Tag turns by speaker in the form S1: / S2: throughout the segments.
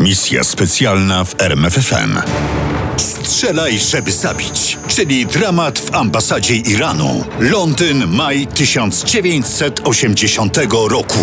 S1: Misja specjalna w RMFFM. Strzelaj, żeby zabić, czyli dramat w ambasadzie Iranu. Londyn, maj 1980 roku.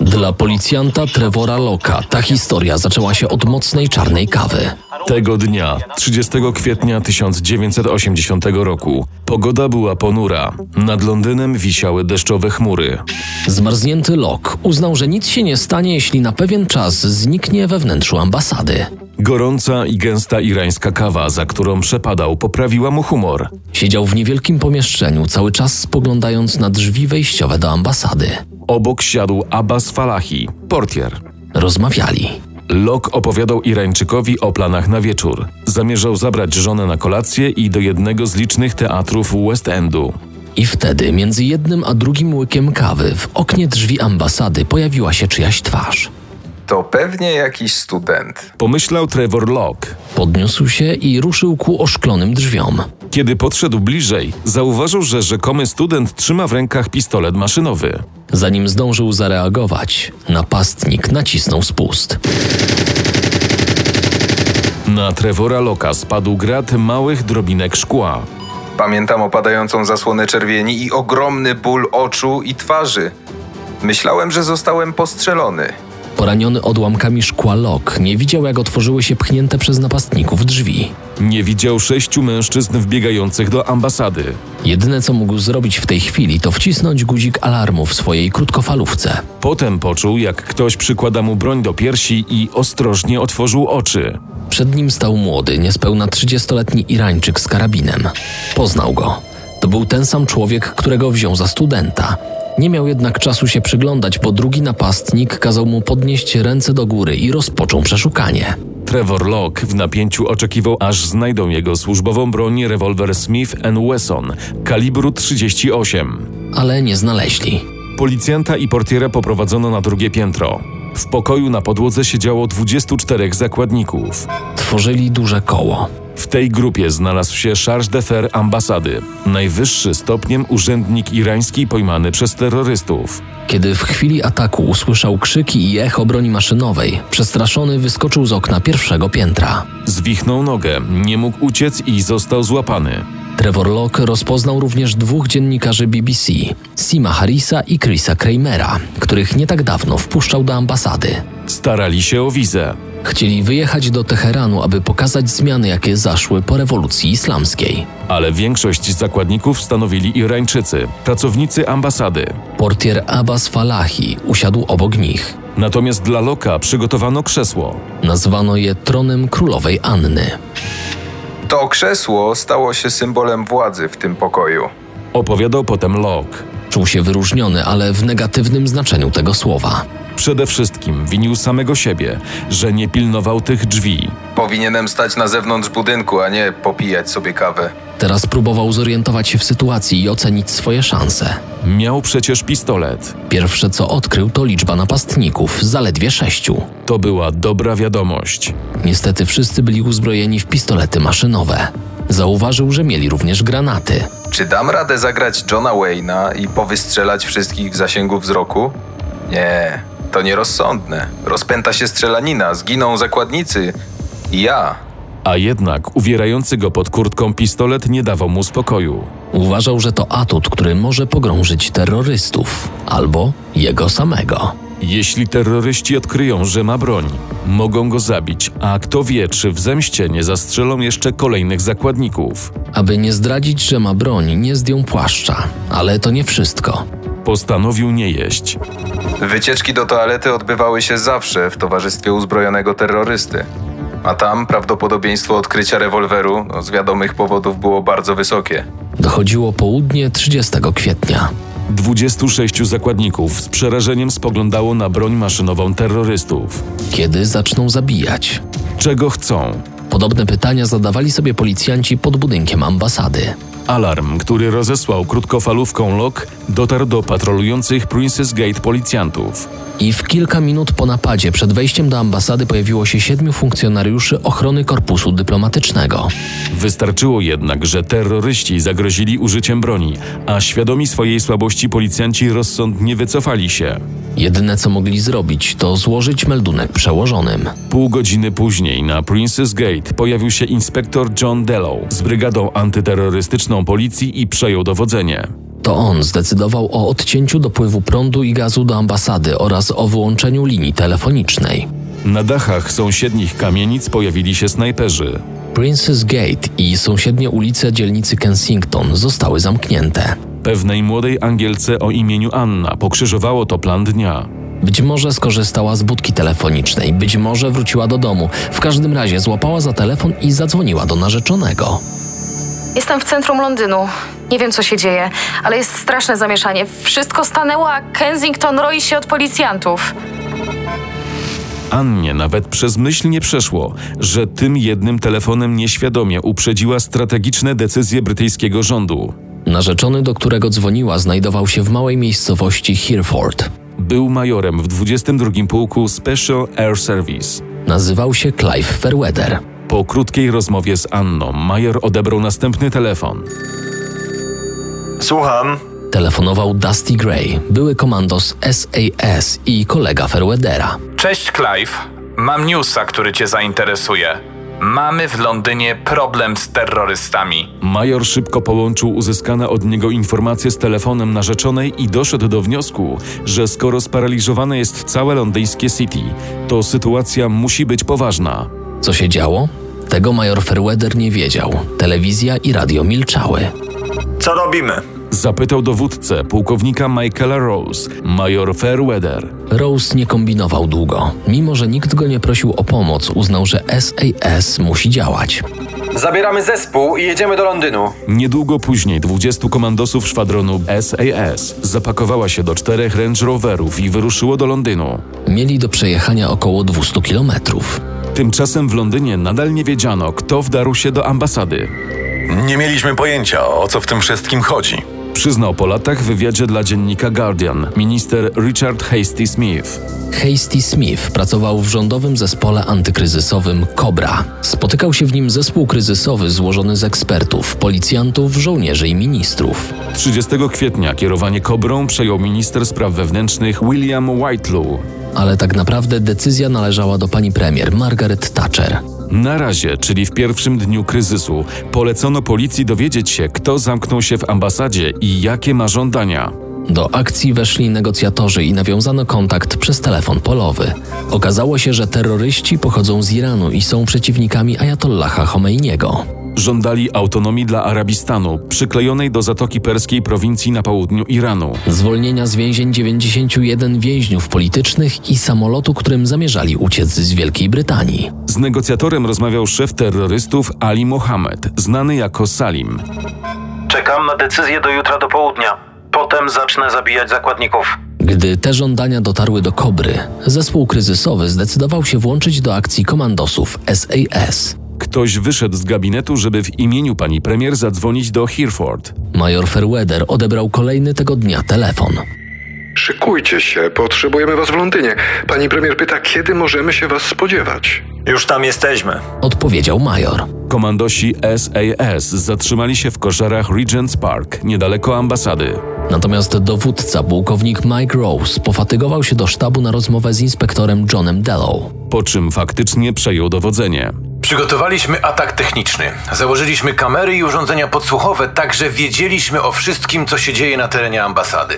S2: Dla policjanta Trevora Locka ta historia zaczęła się od mocnej czarnej kawy.
S3: Tego dnia, 30 kwietnia 1980 roku, pogoda była ponura. Nad Londynem wisiały deszczowe chmury.
S2: Zmarznięty Lok uznał, że nic się nie stanie, jeśli na pewien czas zniknie we wnętrzu ambasady.
S3: Gorąca i gęsta irańska kawa, za którą przepadał, poprawiła mu humor.
S2: Siedział w niewielkim pomieszczeniu, cały czas spoglądając na drzwi wejściowe do ambasady.
S3: Obok siadł Abbas Falahi, portier.
S2: Rozmawiali.
S3: Lok opowiadał Irańczykowi o planach na wieczór. Zamierzał zabrać żonę na kolację i do jednego z licznych teatrów West Endu.
S2: I wtedy, między jednym a drugim łykiem kawy, w oknie drzwi ambasady pojawiła się czyjaś twarz.
S4: To pewnie jakiś student.
S3: Pomyślał Trevor Locke.
S2: Podniósł się i ruszył ku oszklonym drzwiom.
S3: Kiedy podszedł bliżej, zauważył, że rzekomy student trzyma w rękach pistolet maszynowy.
S2: Zanim zdążył zareagować, napastnik nacisnął spust.
S3: Na Trevora Loka spadł grat małych drobinek szkła.
S4: Pamiętam opadającą zasłonę czerwieni i ogromny ból oczu i twarzy. Myślałem, że zostałem postrzelony.
S2: Poraniony odłamkami szkła Lok nie widział, jak otworzyły się pchnięte przez napastników drzwi.
S3: Nie widział sześciu mężczyzn wbiegających do ambasady.
S2: Jedyne, co mógł zrobić w tej chwili, to wcisnąć guzik alarmu w swojej krótkofalówce.
S3: Potem poczuł, jak ktoś przykłada mu broń do piersi i ostrożnie otworzył oczy.
S2: Przed nim stał młody, niespełna 30-letni Irańczyk z karabinem. Poznał go. To był ten sam człowiek, którego wziął za studenta. Nie miał jednak czasu się przyglądać, bo drugi napastnik kazał mu podnieść ręce do góry i rozpoczął przeszukanie.
S3: Trevor Locke w napięciu oczekiwał, aż znajdą jego służbową broń rewolwer Smith Wesson kalibru 38.
S2: Ale nie znaleźli.
S3: Policjanta i portiera poprowadzono na drugie piętro. W pokoju na podłodze siedziało 24 zakładników.
S2: Tworzyli duże koło.
S3: W tej grupie znalazł się charge d'affaires ambasady, najwyższy stopniem urzędnik irański pojmany przez terrorystów.
S2: Kiedy w chwili ataku usłyszał krzyki i echo broni maszynowej, przestraszony wyskoczył z okna pierwszego piętra.
S3: Zwichnął nogę, nie mógł uciec i został złapany.
S2: Trevor Locke rozpoznał również dwóch dziennikarzy BBC, Sima Harrisa i Chrisa Kramera, których nie tak dawno wpuszczał do ambasady.
S3: Starali się o wizę.
S2: Chcieli wyjechać do Teheranu, aby pokazać zmiany, jakie zaszły po rewolucji islamskiej.
S3: Ale większość zakładników stanowili Irańczycy, pracownicy ambasady.
S2: Portier Abbas Falahi usiadł obok nich.
S3: Natomiast dla Loka przygotowano krzesło.
S2: Nazwano je tronem królowej Anny.
S4: To krzesło stało się symbolem władzy w tym pokoju.
S3: Opowiadał potem Locke.
S2: Czuł się wyróżniony, ale w negatywnym znaczeniu tego słowa.
S3: Przede wszystkim winił samego siebie, że nie pilnował tych drzwi.
S4: Powinienem stać na zewnątrz budynku, a nie popijać sobie kawę.
S2: Teraz próbował zorientować się w sytuacji i ocenić swoje szanse.
S3: Miał przecież pistolet.
S2: Pierwsze co odkrył to liczba napastników, zaledwie sześciu.
S3: To była dobra wiadomość.
S2: Niestety wszyscy byli uzbrojeni w pistolety maszynowe. Zauważył, że mieli również granaty.
S4: Czy dam radę zagrać Johna Wayna i powystrzelać wszystkich w zasięgu wzroku? Nie, to nierozsądne. Rozpęta się strzelanina, zginą zakładnicy i ja.
S3: A jednak uwierający go pod kurtką pistolet nie dawał mu spokoju.
S2: Uważał, że to atut, który może pogrążyć terrorystów albo jego samego.
S3: Jeśli terroryści odkryją, że ma broń, mogą go zabić, a kto wie, czy w zemście nie zastrzelą jeszcze kolejnych zakładników.
S2: Aby nie zdradzić, że ma broń, nie zdjął płaszcza. Ale to nie wszystko.
S3: Postanowił nie jeść.
S4: Wycieczki do toalety odbywały się zawsze w towarzystwie uzbrojonego terrorysty. A tam prawdopodobieństwo odkrycia rewolweru no, z wiadomych powodów było bardzo wysokie.
S2: Dochodziło południe 30 kwietnia.
S3: 26 zakładników z przerażeniem spoglądało na broń maszynową terrorystów.
S2: Kiedy zaczną zabijać?
S3: Czego chcą?
S2: Podobne pytania zadawali sobie policjanci pod budynkiem ambasady.
S3: Alarm, który rozesłał krótkofalówką LOK, dotarł do patrolujących Princess Gate policjantów.
S2: I w kilka minut po napadzie przed wejściem do ambasady pojawiło się siedmiu funkcjonariuszy ochrony korpusu dyplomatycznego.
S3: Wystarczyło jednak, że terroryści zagrozili użyciem broni, a świadomi swojej słabości policjanci rozsądnie wycofali się.
S2: Jedyne co mogli zrobić, to złożyć meldunek przełożonym.
S3: Pół godziny później na Princess Gate pojawił się inspektor John Dellow z brygadą antyterrorystyczną policji i przejął dowodzenie.
S2: To on zdecydował o odcięciu dopływu prądu i gazu do ambasady oraz o wyłączeniu linii telefonicznej.
S3: Na dachach sąsiednich kamienic pojawili się snajperzy.
S2: Princess Gate i sąsiednie ulice dzielnicy Kensington zostały zamknięte.
S3: Pewnej młodej Angielce o imieniu Anna pokrzyżowało to plan dnia.
S2: Być może skorzystała z budki telefonicznej, być może wróciła do domu. W każdym razie złapała za telefon i zadzwoniła do narzeczonego.
S5: Jestem w centrum Londynu. Nie wiem, co się dzieje, ale jest straszne zamieszanie. Wszystko stanęło, a Kensington roi się od policjantów.
S3: Annie nawet przez myśl nie przeszło, że tym jednym telefonem nieświadomie uprzedziła strategiczne decyzje brytyjskiego rządu.
S2: Narzeczony, do którego dzwoniła, znajdował się w małej miejscowości Hereford.
S3: Był majorem w 22 Pułku Special Air Service.
S2: Nazywał się Clive Fairweather.
S3: Po krótkiej rozmowie z Anną, major odebrał następny telefon.
S6: Słucham.
S2: Telefonował Dusty Gray, były komandos SAS i kolega Fairweathera.
S7: Cześć Clive, mam newsa, który cię zainteresuje. Mamy w Londynie problem z terrorystami.
S3: Major szybko połączył uzyskane od niego informacje z telefonem narzeczonej i doszedł do wniosku, że skoro sparaliżowane jest całe londyńskie City, to sytuacja musi być poważna.
S2: Co się działo? Tego major Fairweather nie wiedział. Telewizja i radio milczały.
S6: Co robimy?
S3: Zapytał dowódcę, pułkownika Michaela Rose, major Fairweather.
S2: Rose nie kombinował długo. Mimo, że nikt go nie prosił o pomoc, uznał, że SAS musi działać.
S8: Zabieramy zespół i jedziemy do Londynu.
S3: Niedługo później 20 komandosów szwadronu SAS zapakowała się do czterech Range Roverów i wyruszyło do Londynu.
S2: Mieli do przejechania około 200 kilometrów.
S3: Tymczasem w Londynie nadal nie wiedziano, kto wdarł się do ambasady.
S9: Nie mieliśmy pojęcia, o co w tym wszystkim chodzi.
S3: Przyznał po latach w wywiadzie dla dziennika Guardian minister Richard Hasty Smith.
S2: Hasty Smith pracował w rządowym zespole antykryzysowym Cobra. Spotykał się w nim zespół kryzysowy złożony z ekspertów, policjantów, żołnierzy i ministrów.
S3: 30 kwietnia kierowanie Kobrą przejął minister spraw wewnętrznych William Whitelaw.
S2: Ale tak naprawdę decyzja należała do pani premier Margaret Thatcher.
S3: Na razie, czyli w pierwszym dniu kryzysu, polecono policji dowiedzieć się, kto zamknął się w ambasadzie i jakie ma żądania.
S2: Do akcji weszli negocjatorzy i nawiązano kontakt przez telefon polowy. Okazało się, że terroryści pochodzą z Iranu i są przeciwnikami Ajatollaha Khomeiniego.
S3: Żądali autonomii dla Arabistanu, przyklejonej do Zatoki Perskiej prowincji na południu Iranu.
S2: Zwolnienia z więzień 91 więźniów politycznych i samolotu, którym zamierzali uciec z Wielkiej Brytanii.
S3: Z negocjatorem rozmawiał szef terrorystów Ali Mohammed, znany jako Salim.
S8: Czekam na decyzję do jutra do południa. Potem zacznę zabijać zakładników.
S2: Gdy te żądania dotarły do Kobry, zespół kryzysowy zdecydował się włączyć do akcji komandosów SAS.
S3: Ktoś wyszedł z gabinetu, żeby w imieniu pani premier zadzwonić do Hereford.
S2: Major Fairweather odebrał kolejny tego dnia telefon.
S10: Szykujcie się, potrzebujemy was w Londynie. Pani premier pyta, kiedy możemy się was spodziewać.
S6: Już tam jesteśmy.
S2: Odpowiedział major.
S3: Komandosi SAS zatrzymali się w koszarach Regent's Park, niedaleko ambasady.
S2: Natomiast dowódca, pułkownik Mike Rose, pofatygował się do sztabu na rozmowę z inspektorem Johnem Dellow.
S3: Po czym faktycznie przejął dowodzenie.
S7: Przygotowaliśmy atak techniczny. Założyliśmy kamery i urządzenia podsłuchowe, tak że wiedzieliśmy o wszystkim, co się dzieje na terenie ambasady.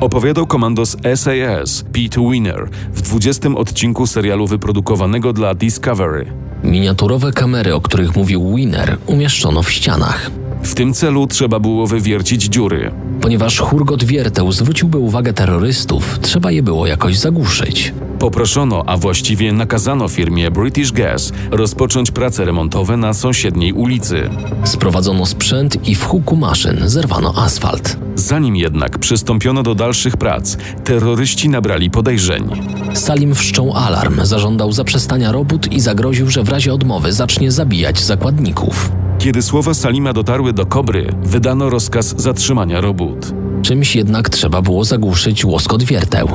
S3: Opowiadał komandos SAS Pete Winner w 20 odcinku serialu wyprodukowanego dla Discovery.
S2: Miniaturowe kamery, o których mówił Winner, umieszczono w ścianach.
S3: W tym celu trzeba było wywiercić dziury.
S2: Ponieważ hurgot wierteł zwróciłby uwagę terrorystów, trzeba je było jakoś zagłuszyć.
S3: Poproszono, a właściwie nakazano firmie British Gas rozpocząć prace remontowe na sąsiedniej ulicy.
S2: Sprowadzono sprzęt i w huku maszyn zerwano asfalt.
S3: Zanim jednak przystąpiono do dalszych prac, terroryści nabrali podejrzeń.
S2: Salim wszczął alarm, zażądał zaprzestania robót i zagroził, że w razie odmowy zacznie zabijać zakładników.
S3: Kiedy słowa Salima dotarły do Kobry, wydano rozkaz zatrzymania robót.
S2: Czymś jednak trzeba było zagłuszyć łoskot wierteł.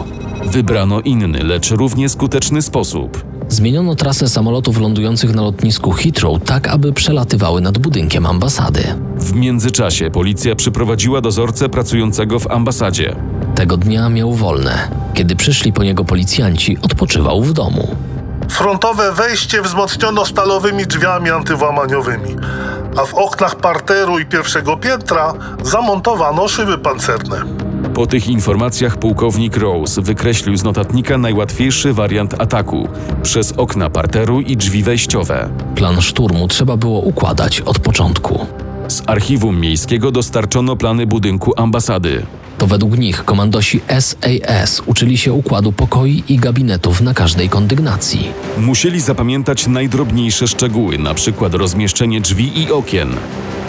S3: Wybrano inny, lecz równie skuteczny sposób.
S2: Zmieniono trasę samolotów lądujących na lotnisku Heathrow tak, aby przelatywały nad budynkiem ambasady.
S3: W międzyczasie policja przyprowadziła dozorcę pracującego w ambasadzie.
S2: Tego dnia miał wolne. Kiedy przyszli po niego policjanci, odpoczywał w domu.
S11: Frontowe wejście wzmocniono stalowymi drzwiami antywłamaniowymi, a w oknach parteru i pierwszego piętra zamontowano szyby pancerne.
S3: Po tych informacjach pułkownik Rose wykreślił z notatnika najłatwiejszy wariant ataku przez okna parteru i drzwi wejściowe.
S2: Plan szturmu trzeba było układać od początku.
S3: Z archiwum miejskiego dostarczono plany budynku ambasady.
S2: To według nich komandosi SAS uczyli się układu pokoi i gabinetów na każdej kondygnacji.
S3: Musieli zapamiętać najdrobniejsze szczegóły, na przykład rozmieszczenie drzwi i okien.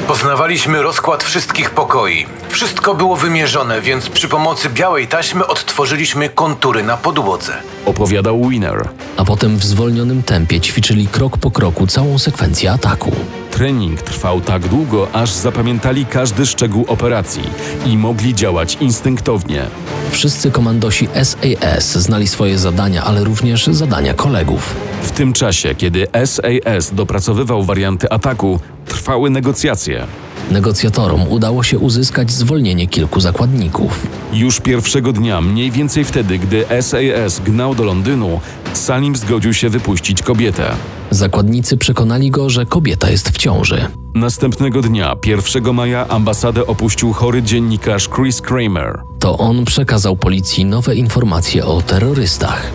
S7: Poznawaliśmy rozkład wszystkich pokoi. Wszystko było wymierzone, więc przy pomocy białej taśmy odtworzyliśmy kontury na podłodze.
S3: Opowiadał Winner.
S2: A potem w zwolnionym tempie ćwiczyli krok po kroku całą sekwencję ataku.
S3: Trening trwał tak długo, aż zapamiętali każdy szczegół operacji i mogli działać instynktownie.
S2: Wszyscy komandosi SAS znali swoje zadania, ale również zadania kolegów.
S3: W tym czasie, kiedy SAS dopracowywał warianty ataku, trwały negocjacje.
S2: Negocjatorom udało się uzyskać zwolnienie kilku zakładników.
S3: Już pierwszego dnia, mniej więcej wtedy, gdy SAS gnał do Londynu, Salim zgodził się wypuścić kobietę.
S2: Zakładnicy przekonali go, że kobieta jest w ciąży.
S3: Następnego dnia, 1 maja, ambasadę opuścił chory dziennikarz Chris Kramer.
S2: To on przekazał policji nowe informacje o terrorystach.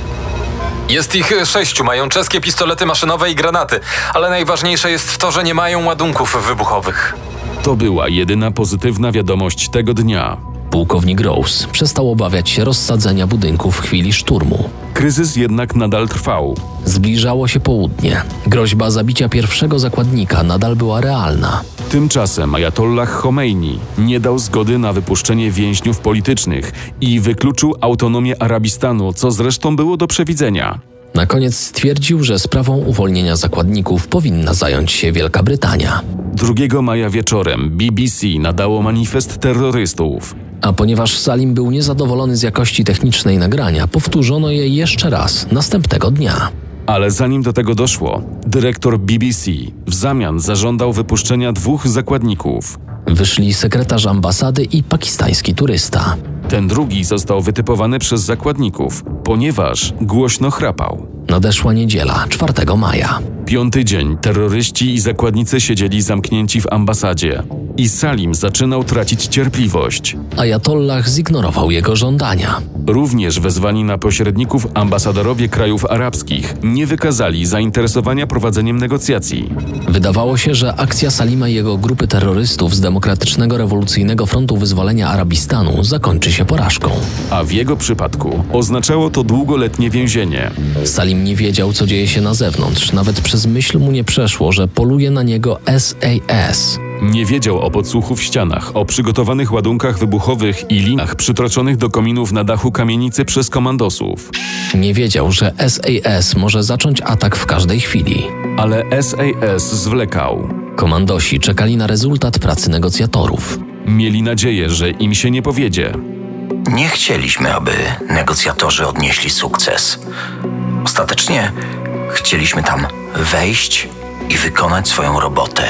S12: Jest ich e, sześciu, mają czeskie pistolety maszynowe i granaty, ale najważniejsze jest to, że nie mają ładunków wybuchowych.
S3: To była jedyna pozytywna wiadomość tego dnia.
S2: Pułkownik Rose przestał obawiać się rozsadzenia budynku w chwili szturmu.
S3: Kryzys jednak nadal trwał.
S2: Zbliżało się południe. Groźba zabicia pierwszego zakładnika nadal była realna.
S3: Tymczasem Ajatollah Khomeini nie dał zgody na wypuszczenie więźniów politycznych i wykluczył autonomię Arabistanu, co zresztą było do przewidzenia.
S2: Na koniec stwierdził, że sprawą uwolnienia zakładników powinna zająć się Wielka Brytania.
S3: 2 maja wieczorem BBC nadało manifest terrorystów.
S2: A ponieważ Salim był niezadowolony z jakości technicznej nagrania, powtórzono je jeszcze raz następnego dnia.
S3: Ale zanim do tego doszło, dyrektor BBC w zamian zażądał wypuszczenia dwóch zakładników.
S2: Wyszli sekretarz ambasady i pakistański turysta.
S3: Ten drugi został wytypowany przez zakładników, ponieważ głośno chrapał.
S2: Nadeszła niedziela, 4 maja.
S3: Piąty dzień terroryści i zakładnicy siedzieli zamknięci w ambasadzie i Salim zaczynał tracić cierpliwość.
S2: Ajatollah zignorował jego żądania.
S3: Również wezwani na pośredników ambasadorowie krajów arabskich nie wykazali zainteresowania prowadzeniem negocjacji.
S2: Wydawało się, że akcja Salima i jego grupy terrorystów z Demokratycznego Rewolucyjnego Frontu Wyzwolenia Arabistanu zakończy się porażką.
S3: A w jego przypadku oznaczało to długoletnie więzienie.
S2: Salim nie wiedział, co dzieje się na zewnątrz. Nawet przez myśl mu nie przeszło, że poluje na niego SAS.
S3: Nie wiedział o podsłuchu w ścianach, o przygotowanych ładunkach wybuchowych i linach przytroczonych do kominów na dachu kamienicy przez komandosów.
S2: Nie wiedział, że SAS może zacząć atak w każdej chwili.
S3: Ale SAS zwlekał.
S2: Komandosi czekali na rezultat pracy negocjatorów.
S3: Mieli nadzieję, że im się nie powiedzie.
S13: Nie chcieliśmy, aby negocjatorzy odnieśli sukces. Ostatecznie chcieliśmy tam wejść i wykonać swoją robotę.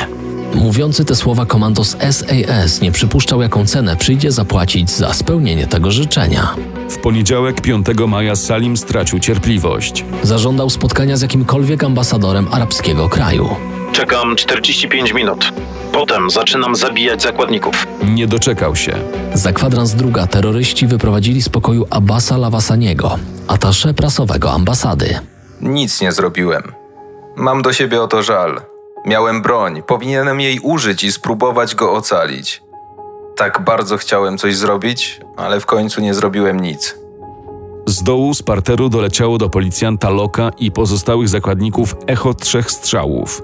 S2: Mówiący te słowa komandos SAS nie przypuszczał, jaką cenę przyjdzie zapłacić za spełnienie tego życzenia.
S3: W poniedziałek 5 maja Salim stracił cierpliwość.
S2: Zażądał spotkania z jakimkolwiek ambasadorem arabskiego kraju.
S8: Czekam 45 minut. Potem zaczynam zabijać zakładników.
S3: Nie doczekał się.
S2: Za kwadrans druga terroryści wyprowadzili z pokoju Abasa Lawasaniego, atasze prasowego ambasady.
S4: Nic nie zrobiłem. Mam do siebie o to żal. Miałem broń, powinienem jej użyć i spróbować go ocalić. Tak bardzo chciałem coś zrobić, ale w końcu nie zrobiłem nic.
S3: Z dołu z parteru doleciało do policjanta Loka i pozostałych zakładników echo trzech strzałów.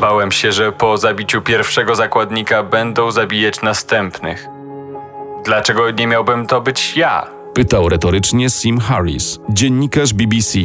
S14: Bałem się, że po zabiciu pierwszego zakładnika będą zabijać następnych. Dlaczego nie miałbym to być ja?
S3: Pytał retorycznie Sim Harris, dziennikarz BBC.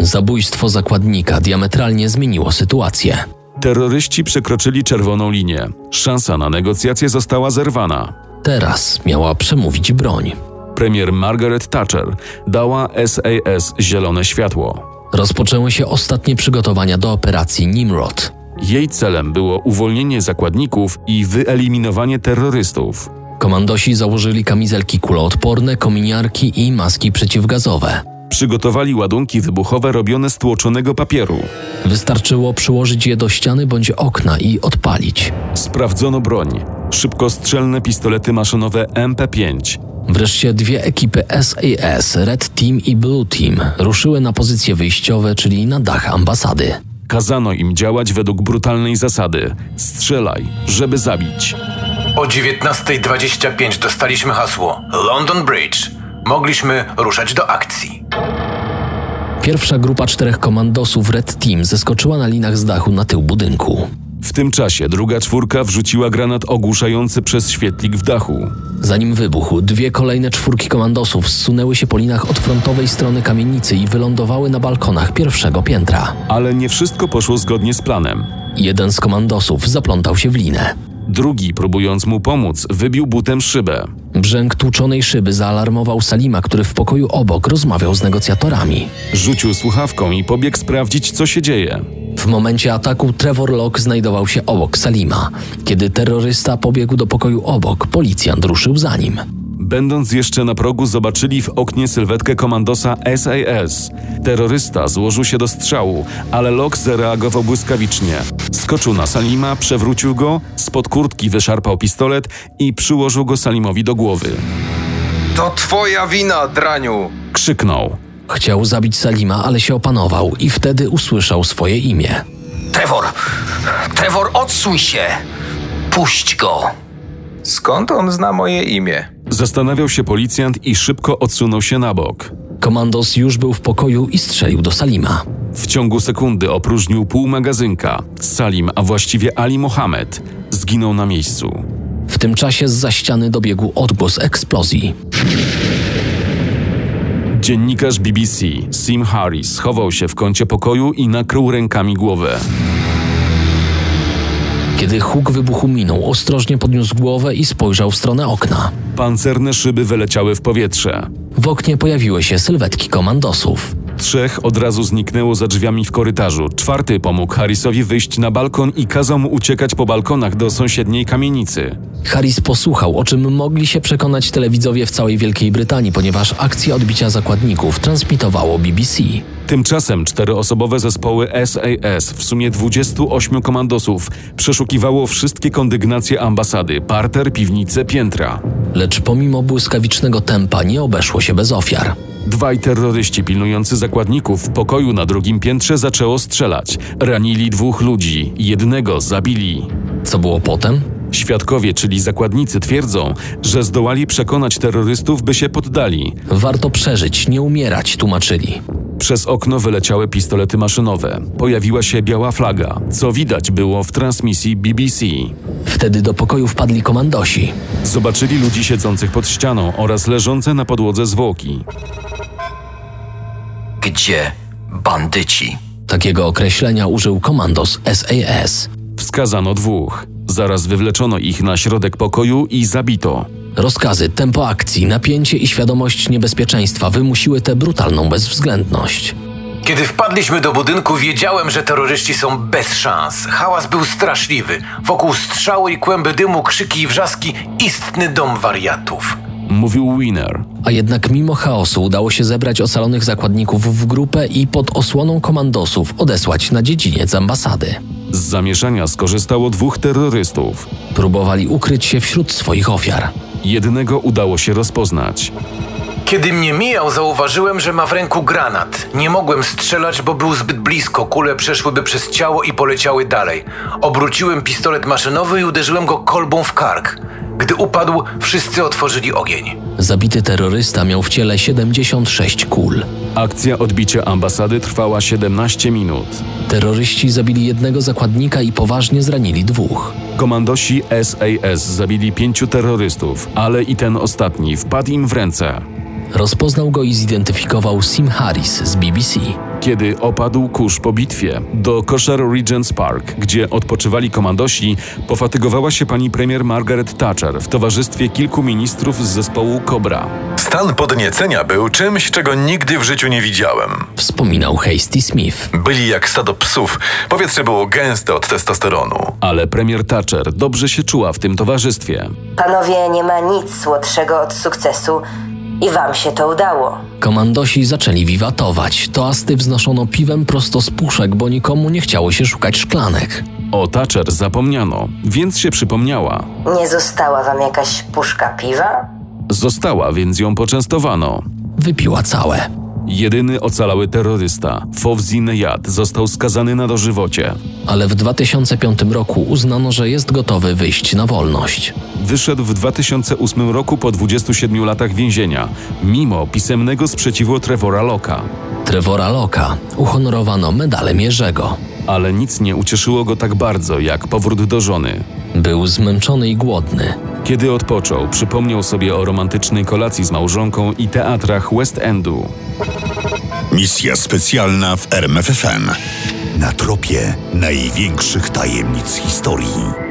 S2: Zabójstwo zakładnika diametralnie zmieniło sytuację.
S3: terroryści przekroczyli czerwoną linię. Szansa na negocjacje została zerwana.
S2: Teraz miała przemówić broń.
S3: Premier Margaret Thatcher dała SAS zielone światło.
S2: Rozpoczęły się ostatnie przygotowania do operacji Nimrod.
S3: Jej celem było uwolnienie zakładników i wyeliminowanie terrorystów.
S2: Komandosi założyli kamizelki kuloodporne, kominiarki i maski przeciwgazowe.
S3: Przygotowali ładunki wybuchowe robione z tłoczonego papieru.
S2: Wystarczyło przyłożyć je do ściany bądź okna i odpalić.
S3: Sprawdzono broń. Szybkostrzelne pistolety maszynowe MP5.
S2: Wreszcie dwie ekipy SAS, Red Team i Blue Team, ruszyły na pozycje wyjściowe, czyli na dach ambasady.
S3: Kazano im działać według brutalnej zasady: strzelaj, żeby zabić.
S7: O 19.25 dostaliśmy hasło London Bridge. Mogliśmy ruszać do akcji.
S2: Pierwsza grupa czterech komandosów Red Team zeskoczyła na linach z dachu na tył budynku.
S3: W tym czasie druga czwórka wrzuciła granat ogłuszający przez świetlik w dachu.
S2: Zanim wybuchł, dwie kolejne czwórki komandosów zsunęły się po linach od frontowej strony kamienicy i wylądowały na balkonach pierwszego piętra.
S3: Ale nie wszystko poszło zgodnie z planem.
S2: Jeden z komandosów zaplątał się w linę.
S3: Drugi, próbując mu pomóc, wybił butem szybę.
S2: Brzęk tłuczonej szyby zaalarmował Salima, który w pokoju obok rozmawiał z negocjatorami.
S3: Rzucił słuchawką i pobiegł sprawdzić, co się dzieje.
S2: W momencie ataku Trevor Locke znajdował się obok Salima. Kiedy terrorysta pobiegł do pokoju obok, policjant ruszył za nim.
S3: Będąc jeszcze na progu, zobaczyli w oknie sylwetkę komandosa SAS. Terrorysta złożył się do strzału, ale Locke zareagował błyskawicznie. Skoczył na Salima, przewrócił go, spod kurtki wyszarpał pistolet i przyłożył go Salimowi do głowy.
S4: To twoja wina, draniu!
S3: Krzyknął.
S2: Chciał zabić Salima, ale się opanował i wtedy usłyszał swoje imię.
S13: Trevor! Trevor, odsuń się! Puść go!
S4: Skąd on zna moje imię?
S3: Zastanawiał się policjant i szybko odsunął się na bok.
S2: Komandos już był w pokoju i strzelił do Salima.
S3: W ciągu sekundy opróżnił pół magazynka. Salim, a właściwie Ali Mohamed, zginął na miejscu.
S2: W tym czasie z za ściany dobiegł odgłos eksplozji.
S3: Dziennikarz BBC Sim Harris schował się w kącie pokoju i nakrył rękami głowę.
S2: Kiedy huk wybuchu minął, ostrożnie podniósł głowę i spojrzał w stronę okna.
S3: Pancerne szyby wyleciały w powietrze.
S2: W oknie pojawiły się sylwetki komandosów.
S3: Trzech od razu zniknęło za drzwiami w korytarzu. Czwarty pomógł Harrisowi wyjść na balkon i kazał mu uciekać po balkonach do sąsiedniej kamienicy.
S2: Harris posłuchał, o czym mogli się przekonać telewidzowie w całej Wielkiej Brytanii, ponieważ akcję odbicia zakładników transmitowało BBC.
S3: Tymczasem czteroosobowe zespoły SAS, w sumie 28 komandosów, przeszukiwało wszystkie kondygnacje ambasady, parter, piwnice, piętra.
S2: Lecz pomimo błyskawicznego tempa nie obeszło się bez ofiar.
S3: Dwaj terroryści pilnujący zakładników w pokoju na drugim piętrze zaczęło strzelać. Ranili dwóch ludzi, jednego zabili.
S2: Co było potem?
S3: Świadkowie, czyli zakładnicy, twierdzą, że zdołali przekonać terrorystów, by się poddali.
S2: Warto przeżyć, nie umierać, tłumaczyli.
S3: Przez okno wyleciały pistolety maszynowe. Pojawiła się biała flaga, co widać było w transmisji BBC.
S2: Wtedy do pokoju wpadli komandosi.
S3: Zobaczyli ludzi siedzących pod ścianą oraz leżące na podłodze zwłoki.
S13: Gdzie bandyci?
S2: Takiego określenia użył komandos SAS.
S3: Wskazano dwóch. Zaraz wywleczono ich na środek pokoju i zabito.
S2: Rozkazy, tempo akcji, napięcie i świadomość niebezpieczeństwa wymusiły tę brutalną bezwzględność.
S7: Kiedy wpadliśmy do budynku, wiedziałem, że terroryści są bez szans. Hałas był straszliwy. Wokół strzały i kłęby dymu, krzyki i wrzaski istny dom wariatów.
S3: Mówił Winner.
S2: A jednak mimo chaosu udało się zebrać ocalonych zakładników w grupę i pod osłoną komandosów odesłać na dziedziniec ambasady.
S3: Z zamieszania skorzystało dwóch terrorystów.
S2: Próbowali ukryć się wśród swoich ofiar.
S3: Jednego udało się rozpoznać.
S7: Kiedy mnie mijał, zauważyłem, że ma w ręku granat. Nie mogłem strzelać, bo był zbyt blisko. Kule przeszłyby przez ciało i poleciały dalej. Obróciłem pistolet maszynowy i uderzyłem go kolbą w kark. Gdy upadł, wszyscy otworzyli ogień.
S2: Zabity terrorysta miał w ciele 76 kul.
S3: Akcja odbicia ambasady trwała 17 minut.
S2: Terroryści zabili jednego zakładnika i poważnie zranili dwóch.
S3: Komandosi SAS zabili pięciu terrorystów, ale i ten ostatni wpadł im w ręce.
S2: Rozpoznał go i zidentyfikował Sim Harris z BBC.
S3: kiedy opadł kurz po bitwie. Do koszar Regent's Park, gdzie odpoczywali komandosi, pofatygowała się pani premier Margaret Thatcher w towarzystwie kilku ministrów z zespołu Cobra.
S9: Stan podniecenia był czymś, czego nigdy w życiu nie widziałem.
S2: Wspominał Hasty Smith.
S9: Byli jak stado psów. Powietrze było gęste od testosteronu.
S3: Ale premier Thatcher dobrze się czuła w tym towarzystwie.
S15: Panowie, nie ma nic słodszego od sukcesu i wam się to udało.
S2: Komandosi zaczęli wiwatować. Toasty wznoszono piwem prosto z puszek, bo nikomu nie chciało się szukać szklanek.
S3: O Thatcher zapomniano, więc się przypomniała.
S15: Nie została wam jakaś puszka piwa?
S3: Została, więc ją poczęstowano.
S2: Wypiła całe.
S3: Jedyny ocalały terrorysta, Fawzi Nejad, został skazany na dożywocie.
S2: Ale w 2005 roku uznano, że jest gotowy wyjść na wolność.
S3: Wyszedł w 2008 roku po 27 latach więzienia, mimo pisemnego sprzeciwu Trevora Locke'a.
S2: Trevora Locke'a uhonorowano medalem Jerzego.
S3: Ale nic nie ucieszyło go tak bardzo jak powrót do żony.
S2: Był zmęczony i głodny.
S3: Kiedy odpoczął, przypomniał sobie o romantycznej kolacji z małżonką i teatrach West Endu.
S1: Misja specjalna w RMFFM. Na tropie największych tajemnic historii.